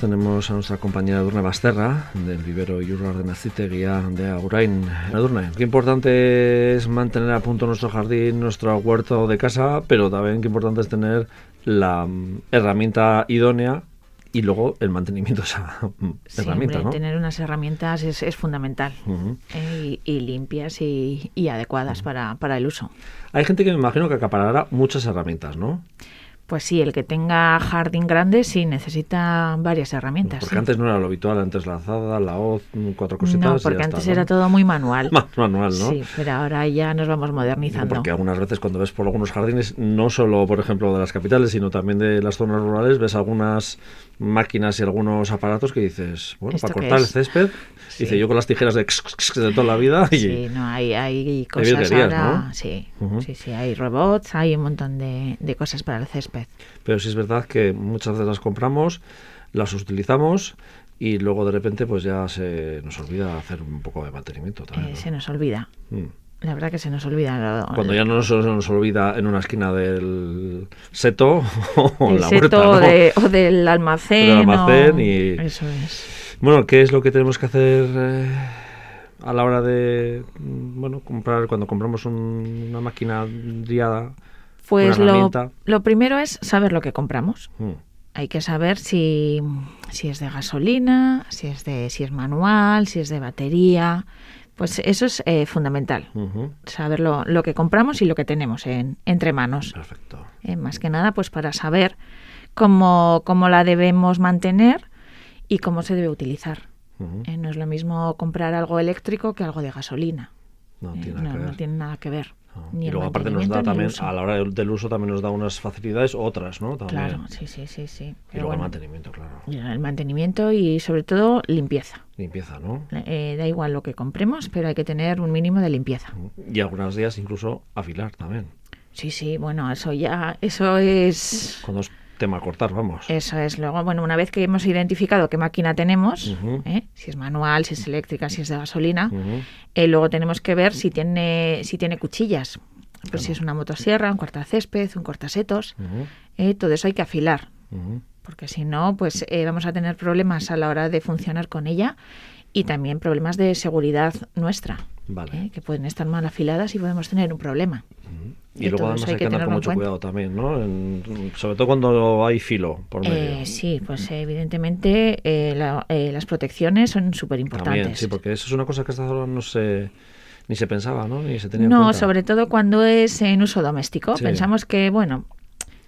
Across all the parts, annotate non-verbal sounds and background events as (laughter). tenemos a nuestra compañera Edurne Basterra, del vivero Yurrar de Naziteguía de Agurain. Edurne, qué importante es mantener a punto nuestro jardín, nuestro huerto de casa, pero también qué importante es tener la mm, herramienta idónea y luego el mantenimiento de esa mm, Sí, herramienta, hombre, ¿no? Mm. Tener unas herramientas es, es fundamental Ujú. eh, y, y limpias y, y adecuadas Mm. para, para el uso. Hay gente que me imagino que acaparará muchas herramientas, ¿no? Pues sí, el que tenga jardín grande sí necesita varias herramientas. Porque sí. antes no era lo habitual, antes la azada, la hoz, mm, cuatro cositas. no, y porque ya antes está, ¿no? era todo muy manual. Más (laughs) manual, ¿no? Sí, pero ahora ya nos vamos Digo, modernizando. Porque algunas veces cuando ves por algunos jardines, no solo por ejemplo de las capitales, sino también de las zonas rurales, ves algunas máquinas y algunos aparatos que dices, bueno, ¿Esto para qué cortar el es? césped, Sí. dice yo con las tijeras de, de toda la vida y Sí, no, hay, hay cosas virguerías, ahora. ¿no? Sí, Ujú. sí, sí, hay robots, hay un montón de, de cosas para el césped. pero sí es verdad que muchas veces las compramos, las utilizamos y luego de repente pues ya se nos olvida hacer un poco de mantenimiento Eh, también. ¿no? Se nos olvida. Mm. La verdad que se nos olvida. lo- Cuando ya no se nos olvida en una esquina del seto (laughs) o en del la seto huerta, o ¿no? de- o del almacén. Del almacén o- y- Eso es. Bueno, ¿qué es lo que tenemos que hacer eh, a la hora de mm, bueno comprar cuando compramos un- una máquina diada? Pues Una lo, herramienta. lo primero es saber lo que compramos. Mm, Hay que saber si, si es de gasolina, si es, de, si es manual, si es de batería. Pues eso es eh, fundamental. ujú, Saber lo, lo que compramos y lo que tenemos en, entre manos. Perfecto. Eh, más que nada, pues para saber cómo, cómo la debemos mantener y cómo se debe utilizar. ujú, Eh, no es lo mismo comprar algo eléctrico que algo de gasolina. No Eh, tiene nada que ver. tiene nada que ver. No. Ni Y el luego aparte nos da mantenimiento ni también el uso. a la hora del, del uso también nos da unas facilidades otras, ¿no? También. Claro, sí, sí, sí, sí. Y luego Pero el bueno, mantenimiento, claro. y el mantenimiento y sobre todo limpieza. Limpieza, ¿no? Eh, da igual lo que compremos, pero hay que tener un mínimo de limpieza. Y algunos días incluso afilar también. Sí, sí, bueno, eso ya, eso es, Cuando es tema cortar, vamos. eso es. Luego, bueno, una vez que hemos identificado qué máquina tenemos, Ujú. ¿eh? si es manual, si es eléctrica, si es de gasolina, Ujú. Eh, luego tenemos que ver si tiene, si tiene cuchillas. Pues si es una motosierra, un cortacésped, un cortasetos. Ujú, eh, todo eso hay que afilar. ujú. Porque si no, pues eh, vamos a tener problemas a la hora de funcionar con ella y también problemas de seguridad nuestra. Vale. eh, que pueden estar mal afiladas y podemos tener un problema. Y que luego todo además eso hay, que andar con tenerlo en mucho cuenta. cuidado también, ¿no? En- sobre todo cuando hay filo por medio. Eh, sí, pues evidentemente eh, la- eh, las protecciones son súper También, importantes. sí, porque eso es una cosa que hasta ahora no se, ni se pensaba, ¿no? Ni se tenía en No, cuenta. sobre todo cuando es en uso doméstico. Sí. Pensamos que, bueno,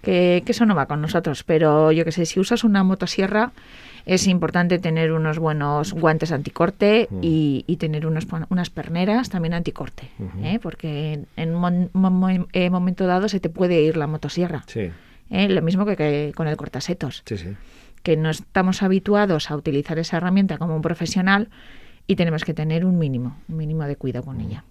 que, que eso no va con nosotros, pero yo que sé, si usas una motosierra es importante tener unos buenos guantes anticorte Mm. y, y tener unos, pon- unas perneras también anticorte, ¿eh? porque en un mon- mon- mon- eh, momento dado se te puede ir la motosierra. Sí, ¿eh? Lo mismo que, que con el cortasetos, sí, sí. que no estamos habituados a utilizar esa herramienta como un profesional y tenemos que tener un mínimo, un mínimo de cuidado Mm. con ella.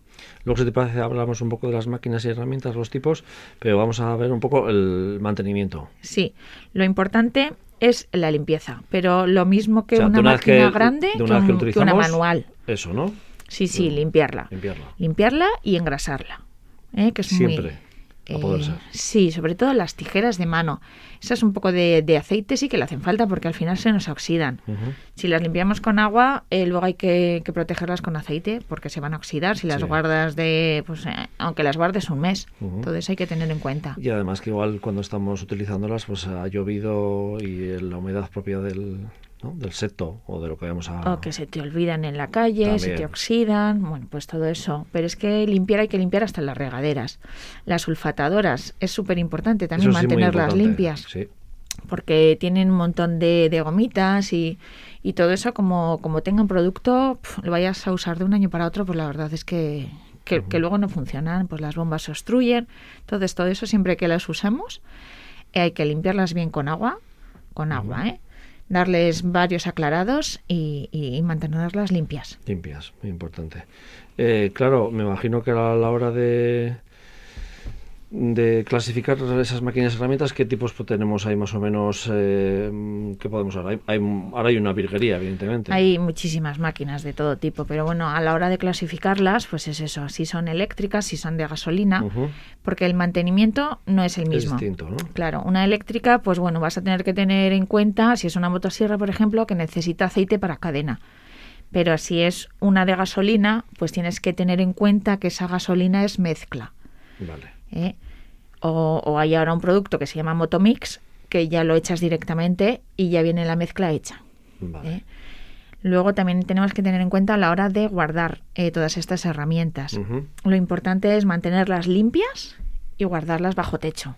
Luego, si te parece, hablamos un poco de las máquinas y herramientas, los tipos, pero vamos a ver un poco el mantenimiento. Sí, lo importante es la limpieza, pero lo mismo que O sea, una, vez máquina grande, de una vez que, que un- que una utilizamos, manual. Eso, ¿no? Sí, sí, limpiarla. Limpiarla. Limpiarla y engrasarla. ¿eh? Que es muy- Siempre, a poder eh, ser. Sí, sobre todo las tijeras de mano. Esas un poco de, de aceite sí que le hacen falta porque al final se nos oxidan. Ujú. Si las limpiamos con agua, eh, luego hay que, que protegerlas con aceite porque se van a oxidar si las Sí. guardas de... Pues, eh, aunque las guardes un mes. Ujú. Todo eso hay que tener en cuenta. Y además que igual cuando estamos utilizándolas, pues ha llovido y la humedad propia del, ¿no? del seto o de lo que vamos a... O que se te olvidan en la calle, se te También. oxidan, bueno, pues todo eso. Pero es que limpiar hay que limpiar hasta las regaderas. Las sulfatadoras es súper importante también Eso sí, muy mantenerlas importante. limpias, Sí. porque tienen un montón de, de gomitas y, y todo eso, como, como tengan producto, pf, lo vayas a usar de un año para otro, pues la verdad es que, que, que luego no funcionan, pues las bombas se obstruyen. Entonces, todo eso siempre que las usamos, eh, hay que limpiarlas bien con agua, con agua, ¿eh? darles varios aclarados y, y- y mantenerlas limpias. Limpias, muy importante. Eh, claro, me imagino que a la hora de de clasificar esas máquinas y herramientas, ¿qué tipos pues, tenemos ahí más o menos? Eh, ¿Qué podemos ahora? Hay, hay, ahora hay una virguería, evidentemente. Hay muchísimas máquinas de todo tipo, pero bueno, a la hora de clasificarlas, pues es eso, si son eléctricas, si son de gasolina, uh -huh. porque el mantenimiento no es el mismo. Es distinto, ¿no? Claro, una eléctrica, pues bueno, vas a tener que tener en cuenta, si es una motosierra, por ejemplo, que necesita aceite para cadena pero si es una de gasolina, pues tienes que tener en cuenta que esa gasolina es mezcla. Vale. ¿eh? O, o, hay ahora un producto que se llama Motomix, que ya lo echas directamente y ya viene la mezcla hecha. Vale. ¿eh? Luego también tenemos que tener en cuenta a la hora de guardar eh, todas estas herramientas. Uh -huh. Lo importante es mantenerlas limpias y guardarlas bajo techo,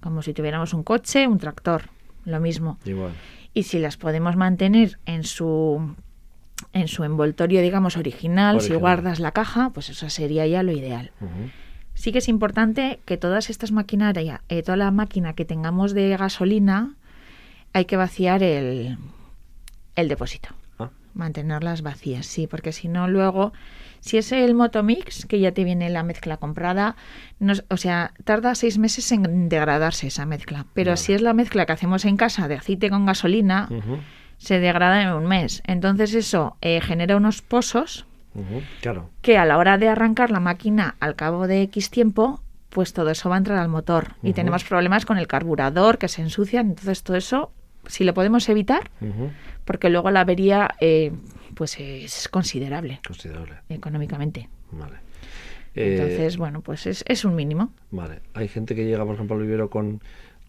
como si tuviéramos un coche, un tractor, lo mismo. Igual. Y si las podemos mantener en su en su envoltorio, digamos, original, original, si guardas la caja, pues eso sería ya lo ideal. Uh -huh. Sí que es importante que todas estas maquinarias, eh, toda la máquina que tengamos de gasolina, hay que vaciar el, el depósito. Ah. Mantenerlas vacías, sí, porque si no, luego, si es el Motomix, que ya te viene la mezcla comprada, no, o sea, tarda seis meses en degradarse esa mezcla. Pero vale. si es la mezcla que hacemos en casa de aceite con gasolina, uh -huh se degrada en un mes. Entonces eso eh, genera unos pozos uh -huh, claro. que a la hora de arrancar la máquina al cabo de X tiempo, pues todo eso va a entrar al motor. Uh -huh. Y tenemos problemas con el carburador que se ensucia. Entonces todo eso, si lo podemos evitar, uh -huh. porque luego la avería eh, pues es considerable. Considerable. Económicamente. Vale. Entonces, eh, bueno, pues es, es un mínimo. Vale. Hay gente que llega, por ejemplo, al vivero con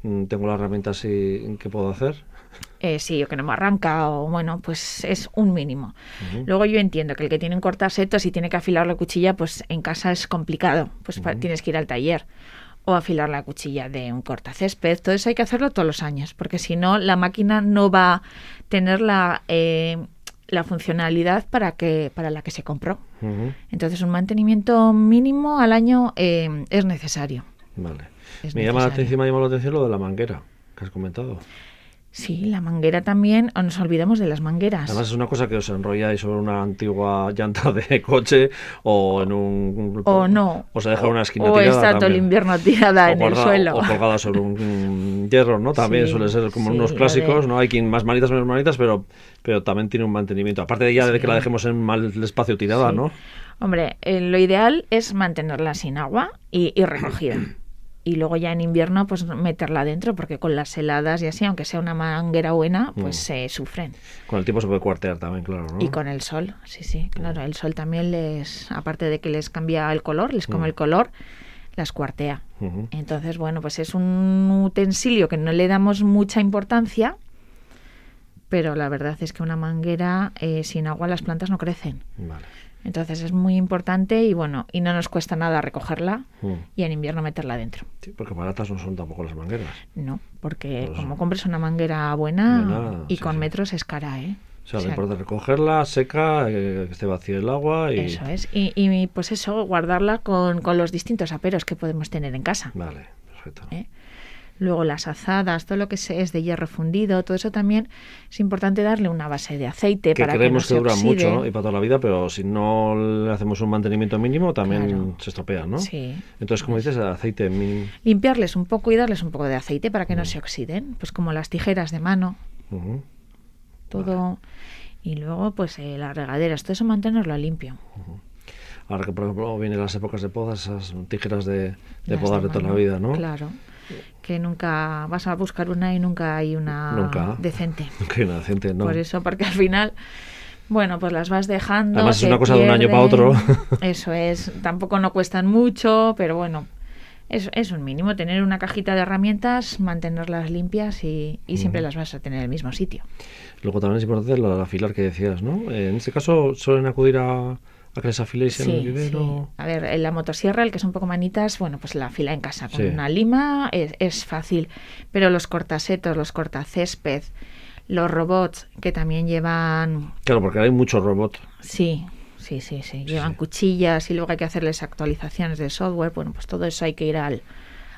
mm, tengo la herramienta así, ¿qué puedo hacer? Eh, sí, o que no me arranca, o bueno, pues es un mínimo. Uh -huh. Luego yo entiendo que el que tiene un cortasetos y tiene que afilar la cuchilla, pues en casa es complicado, pues uh -huh. tienes que ir al taller o afilar la cuchilla de un cortacésped. Todo eso hay que hacerlo todos los años, porque si no, la máquina no va a tener la, eh, la funcionalidad para, que, para la que se compró. Uh -huh. Entonces, un mantenimiento mínimo al año eh, es necesario. Vale. Es me, llama la atención, me llama la atención lo de la manguera que has comentado. Sí, la manguera también, o nos olvidamos de las mangueras. Además es una cosa que os enrolláis sobre una antigua llanta de (laughs) coche o en un... O no. O se deja una esquina o tirada. O está todo el invierno tirada o en guarda, el suelo. O colgada sobre un hierro, ¿no? También sí, suele ser como sí, unos clásicos, de... ¿no? Hay quien más manitas, menos manitas, pero, pero también tiene un mantenimiento. Aparte de ya sí. de que la dejemos en mal espacio tirada, ¿no? (laughs) Hombre, eh, lo ideal es mantenerla sin agua y, y recogida. y luego ya en invierno pues meterla dentro porque con las heladas y así aunque sea una manguera buena pues se mm. eh, sufren con el tiempo se puede cuartear también claro ¿no? y con el sol sí sí claro mm. el sol también les aparte de que les cambia el color les come mm. el color las cuartea -hmm. entonces bueno pues es un utensilio que no le damos mucha importancia pero la verdad es que una manguera eh, sin agua las plantas no crecen vale. Entonces es muy importante y bueno, y no nos cuesta nada recogerla mm. y en invierno meterla dentro. Sí, porque baratas no son tampoco las mangueras. No, porque pues como compres una manguera buena nada, y sí, con sí. metros es cara, ¿eh? O sea, lo importante es recogerla, seca, eh, que esté vacío el agua y... Eso es, y, y pues eso, guardarla con, con, los distintos aperos que podemos tener en casa. Vale, perfecto. ¿Eh? Luego las azadas, todo lo que es de hierro fundido, todo eso también es importante darle una base de aceite que para creemos que, no que se duran mucho ¿no? y para toda la vida, pero si no le hacemos un mantenimiento mínimo también claro. se estropean, ¿no? Sí. Entonces, como dices, aceite mínimo. Limpiarles un poco y darles un poco de aceite para Mm. que uh -huh. no se oxiden, pues como las tijeras de mano. Uh -huh. Todo. Vale. Y luego, pues eh, las regaderas, todo eso mantenerlo limpio. Uh -huh. Ahora que, por ejemplo, vienen las épocas de podas, esas tijeras de, de podar de, de toda la vida, ¿no? (laughs) Claro que nunca vas a buscar una y nunca hay una nunca, decente. Nunca hay una decente, no. Por eso, porque al final, bueno, pues las vas dejando. Además, es se una cosa pierden, de un año para otro. (laughs) Eso es, tampoco no cuestan mucho, pero bueno, es, es un mínimo tener una cajita de herramientas, mantenerlas limpias y, y siempre uh -huh. las vas a tener en el mismo sitio. Luego también es importante lo del afilar que decías, ¿no? En este caso, suelen acudir a a que les afiléis en sí, el vivero. Sí. A ver, en la motosierra, el que son poco manitas, bueno, pues la afila en casa con sí. una lima es, es, fácil. Pero los cortasetos, los cortacésped, los robots que también llevan. Claro, porque hay muchos robots. Sí. Sí, sí, sí. Llevan cuchillas y luego hay que hacerles actualizaciones de software. Bueno, pues todo eso hay que ir al,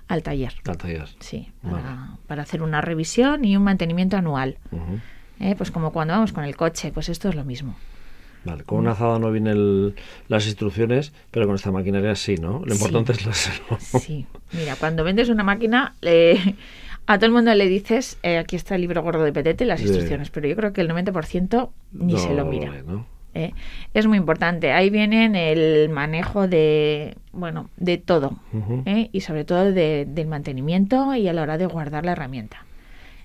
al taller. Al taller. Sí, vale. para, para, hacer una revisión y un mantenimiento anual. Uh -huh. eh, pues como cuando vamos con el coche, pues esto es lo mismo. Vale, con una azada no vienen el- las instrucciones, pero con esta maquinaria sí, ¿no? Lo Sí. importante es la selva. Sí, mira, cuando vendes una máquina, eh, a todo el mundo le dices, eh, aquí está el libro gordo de Petete y las Sí. instrucciones, pero yo creo que el 90% ni No se lo mira. lee, ¿no? ¿eh? Es muy importante. Ahí vienen el manejo de, bueno, de todo Ujú. ¿eh? y sobre todo de- del mantenimiento y a la hora de guardar la herramienta,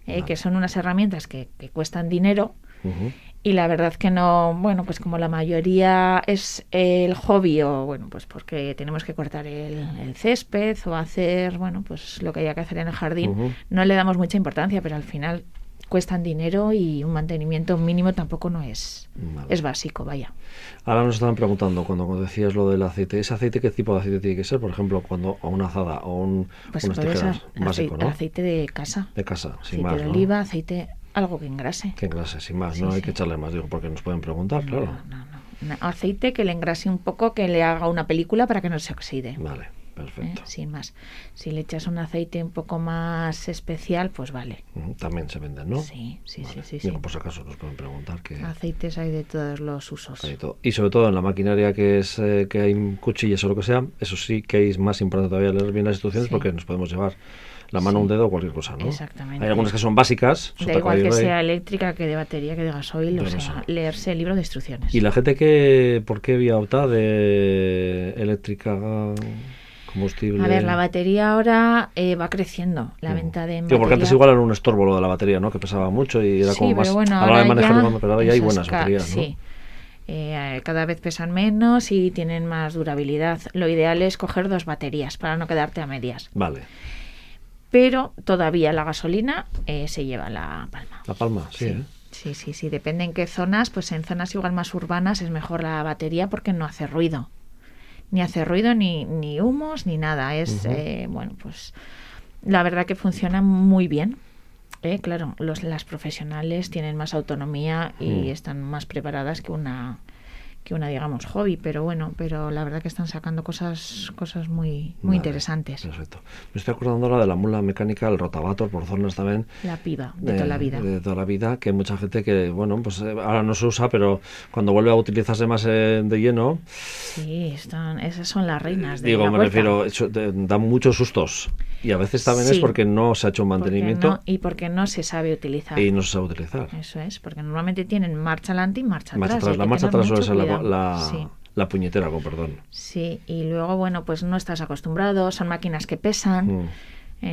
¿eh? Vale. que son unas herramientas que, que cuestan dinero. Ujú. Y la verdad que no, bueno, pues como la mayoría es el hobby o bueno, pues porque tenemos que cortar el, el césped o hacer, bueno, pues lo que haya que hacer en el jardín, Ujú. no le damos mucha importancia, pero al final cuestan dinero y un mantenimiento mínimo tampoco no es, Vale. es básico, vaya. Ahora nos estaban preguntando cuando decías lo del aceite, ¿ese aceite qué tipo de aceite tiene que ser? Por ejemplo, cuando a una azada o un, Pues unas puede ser tijeras básico, acei- ¿no? aceite de casa, De casa, sin aceite más, de ¿no? oliva, aceite, algo que engrase. Que engrase, sin más, Sí, no hay sí. que echarle más, digo, porque nos pueden preguntar, No, claro. no, no. Na- Aceite que le engrase un poco, que le haga una película para que no se oxide. Vale, ¿eh? perfecto. sin más. Si le echas un aceite un poco más especial, pues vale. Ujú, También se venden, ¿no? Sí, sí, Vale. sí, sí, Digo, pues, sí. por si acaso nos pueden preguntar que... Aceites hay de todos los usos. hay de todo. Y sobre todo en la maquinaria que es eh, que hay cuchillas o lo que sea, eso sí que es más importante todavía leer bien las instrucciones Sí. porque nos podemos llevar la mano, Sí. un dedo o cualquier cosa, ¿no? Exactamente. Hay algunas que son básicas, Da sota, igual que caballo y rey. sea eléctrica, que de batería, que de gasoil, Yo o no sea, sé. leerse el libro de instrucciones. ¿Y la gente que, por qué vía opta de eléctrica, combustible? A ver, la batería ahora eh, va creciendo, la Mm. venta de Digo, porque antes batería- igual era un estorbo lo de la batería, ¿no? Que pesaba mucho y era Sí, como pero más... a bueno, la hora de ahora manejar, ya, pero ahora ya hay esas buenas ca- baterías, ¿no? Sí. Eh, cada vez pesan menos y tienen más durabilidad. Lo ideal es coger dos baterías para no quedarte a medias. Vale. Pero todavía la gasolina eh, se lleva la palma. La palma, sí, ¿eh? Sí, sí, sí, depende en qué zonas, pues en zonas igual más urbanas es mejor la batería porque no hace ruido. Ni hace ruido, ni, ni humos, ni nada. Es, Ujú. eh, bueno, pues la verdad que funciona muy bien. Eh, claro, los, las profesionales tienen más autonomía y Mm. están más preparadas que una, que una, digamos, hobby, pero bueno, pero la verdad que están sacando cosas, cosas muy, Vale, muy interesantes. Perfecto. Me estoy acordando ahora de la mula mecánica, el rotavator, por zonas también. La piba de toda eh, la vida. De toda la vida, que hay mucha gente que, bueno, pues eh, ahora no se usa, pero cuando vuelve a utilizarse más eh, de lleno, Sí, están, esas son las reinas de digo, la me huerta. refiero, eso, te- dan muchos sustos. Y a veces también es Sí. porque no se ha hecho un Porque mantenimiento no- y porque no se sabe utilizar. y no se sabe utilizar. Eso es, porque normalmente tienen marcha adelante y marcha Marcha atrás. y atrás, hay la que marcha tener atrás suele mucho ser la, cuidado. la- Sí, la puñetera, con perdón. sí, y luego, bueno, pues no estás acostumbrado, son máquinas que pesan. Mm,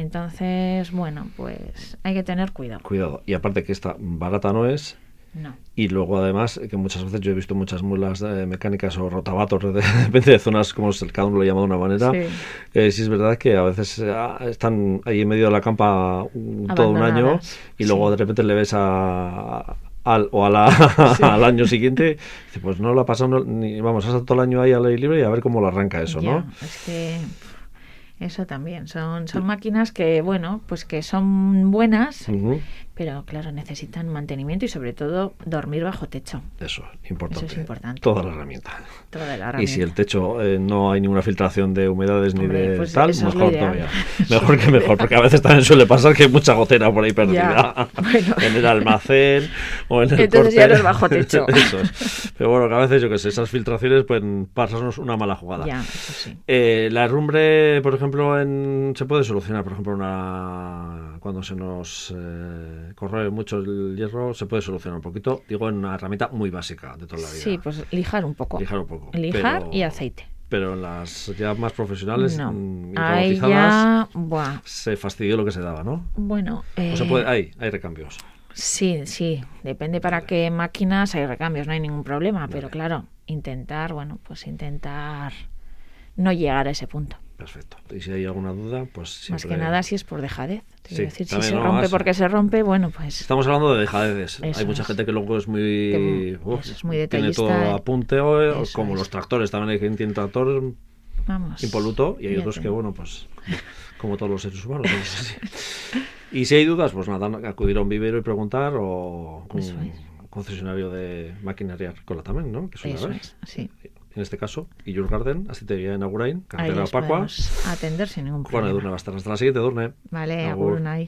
Entonces, bueno, pues hay que tener cuidado. cuidado. Y aparte que esta barata no es. No. Y luego, además, eh, que muchas veces yo he visto muchas mulas eh, mecánicas o rotavatos, de- (laughs) depende de zonas, como se- cada uno lo llama de una manera. Sí. Eh, sí es verdad que a veces eh, ah, están ahí en medio de la campa un- todo un año Abandonadas, y luego sí. de repente le ves a, al, o a (laughs) la- al año siguiente, y dice, pues no la ha pasado, no- ni, vamos, ha estado todo el año ahí al aire libre y a ver cómo lo arranca eso, Ya, ¿no? Es que pff, eso también, son, son máquinas que, bueno, pues que son buenas, Ujú. pero claro, necesitan mantenimiento y sobre todo dormir bajo techo. Eso, importante. importante. Toda la herramienta. Toda la Y si el herramienta. techo eh, no hay ninguna filtración de humedades ni Hombre, de pues tal, eso es mejor lo ideal. (laughs) todavía. Eso Mejor es que lo mejor, ideal. porque a veces también suele pasar que hay mucha gotera por ahí perdida. bueno. (laughs) En el almacén o en el Entonces ya córter. no es bajo techo. (laughs) Eso es. Pero bueno, que a veces, yo que sé, esas filtraciones pueden pasarnos una mala jugada. Ya, eso sí. Eh, la herrumbre, por ejemplo, en, se puede solucionar, por ejemplo, una, cuando se nos eh, corroe mucho el hierro, se puede solucionar un poquito, digo, en una herramienta muy básica de toda la vida. Sí, pues lijar un poco. Lijar un poco. Lijar pero- y aceite. Pero en las ya más profesionales No. mm, y Ahí robotizadas, ya. buah, se fastidió lo que se daba, ¿no? Bueno. O se eh, puede, hay, hay recambios. Sí, sí. Depende para Vale. qué máquinas hay recambios, no hay ningún problema. Pero Vale. claro, intentar, bueno, pues intentar no llegar a ese punto. Perfecto. Y si hay alguna duda, pues Más siempre... que nada si es por dejadez. te Sí, quiero decir, si también se no, rompe eso. porque se rompe, bueno, pues. Estamos hablando de dejadeces. Eso hay mucha es. gente que luego es muy... Que mu- eso es muy Tiene todo detallista, a punteo, eso como es. los tractores. También hay quien tiene tractor Vamos. impoluto y hay ya otros te- que, bueno, pues (laughs) como todos los seres humanos. ¿no? Sí. Y si hay dudas, pues nada, acudir a un vivero y preguntar o con Eso un es. concesionario de maquinaria agrícola también, ¿no? Que es pues una Eso vez. es, sí. En este caso, Illur Garden, aceitería en Agurain, Ahí cartera les Pacua. podemos atender sin ningún Bueno, problema. Edurne, va a estar hasta la siguiente, Edurne. Vale, Agur. agur, unai.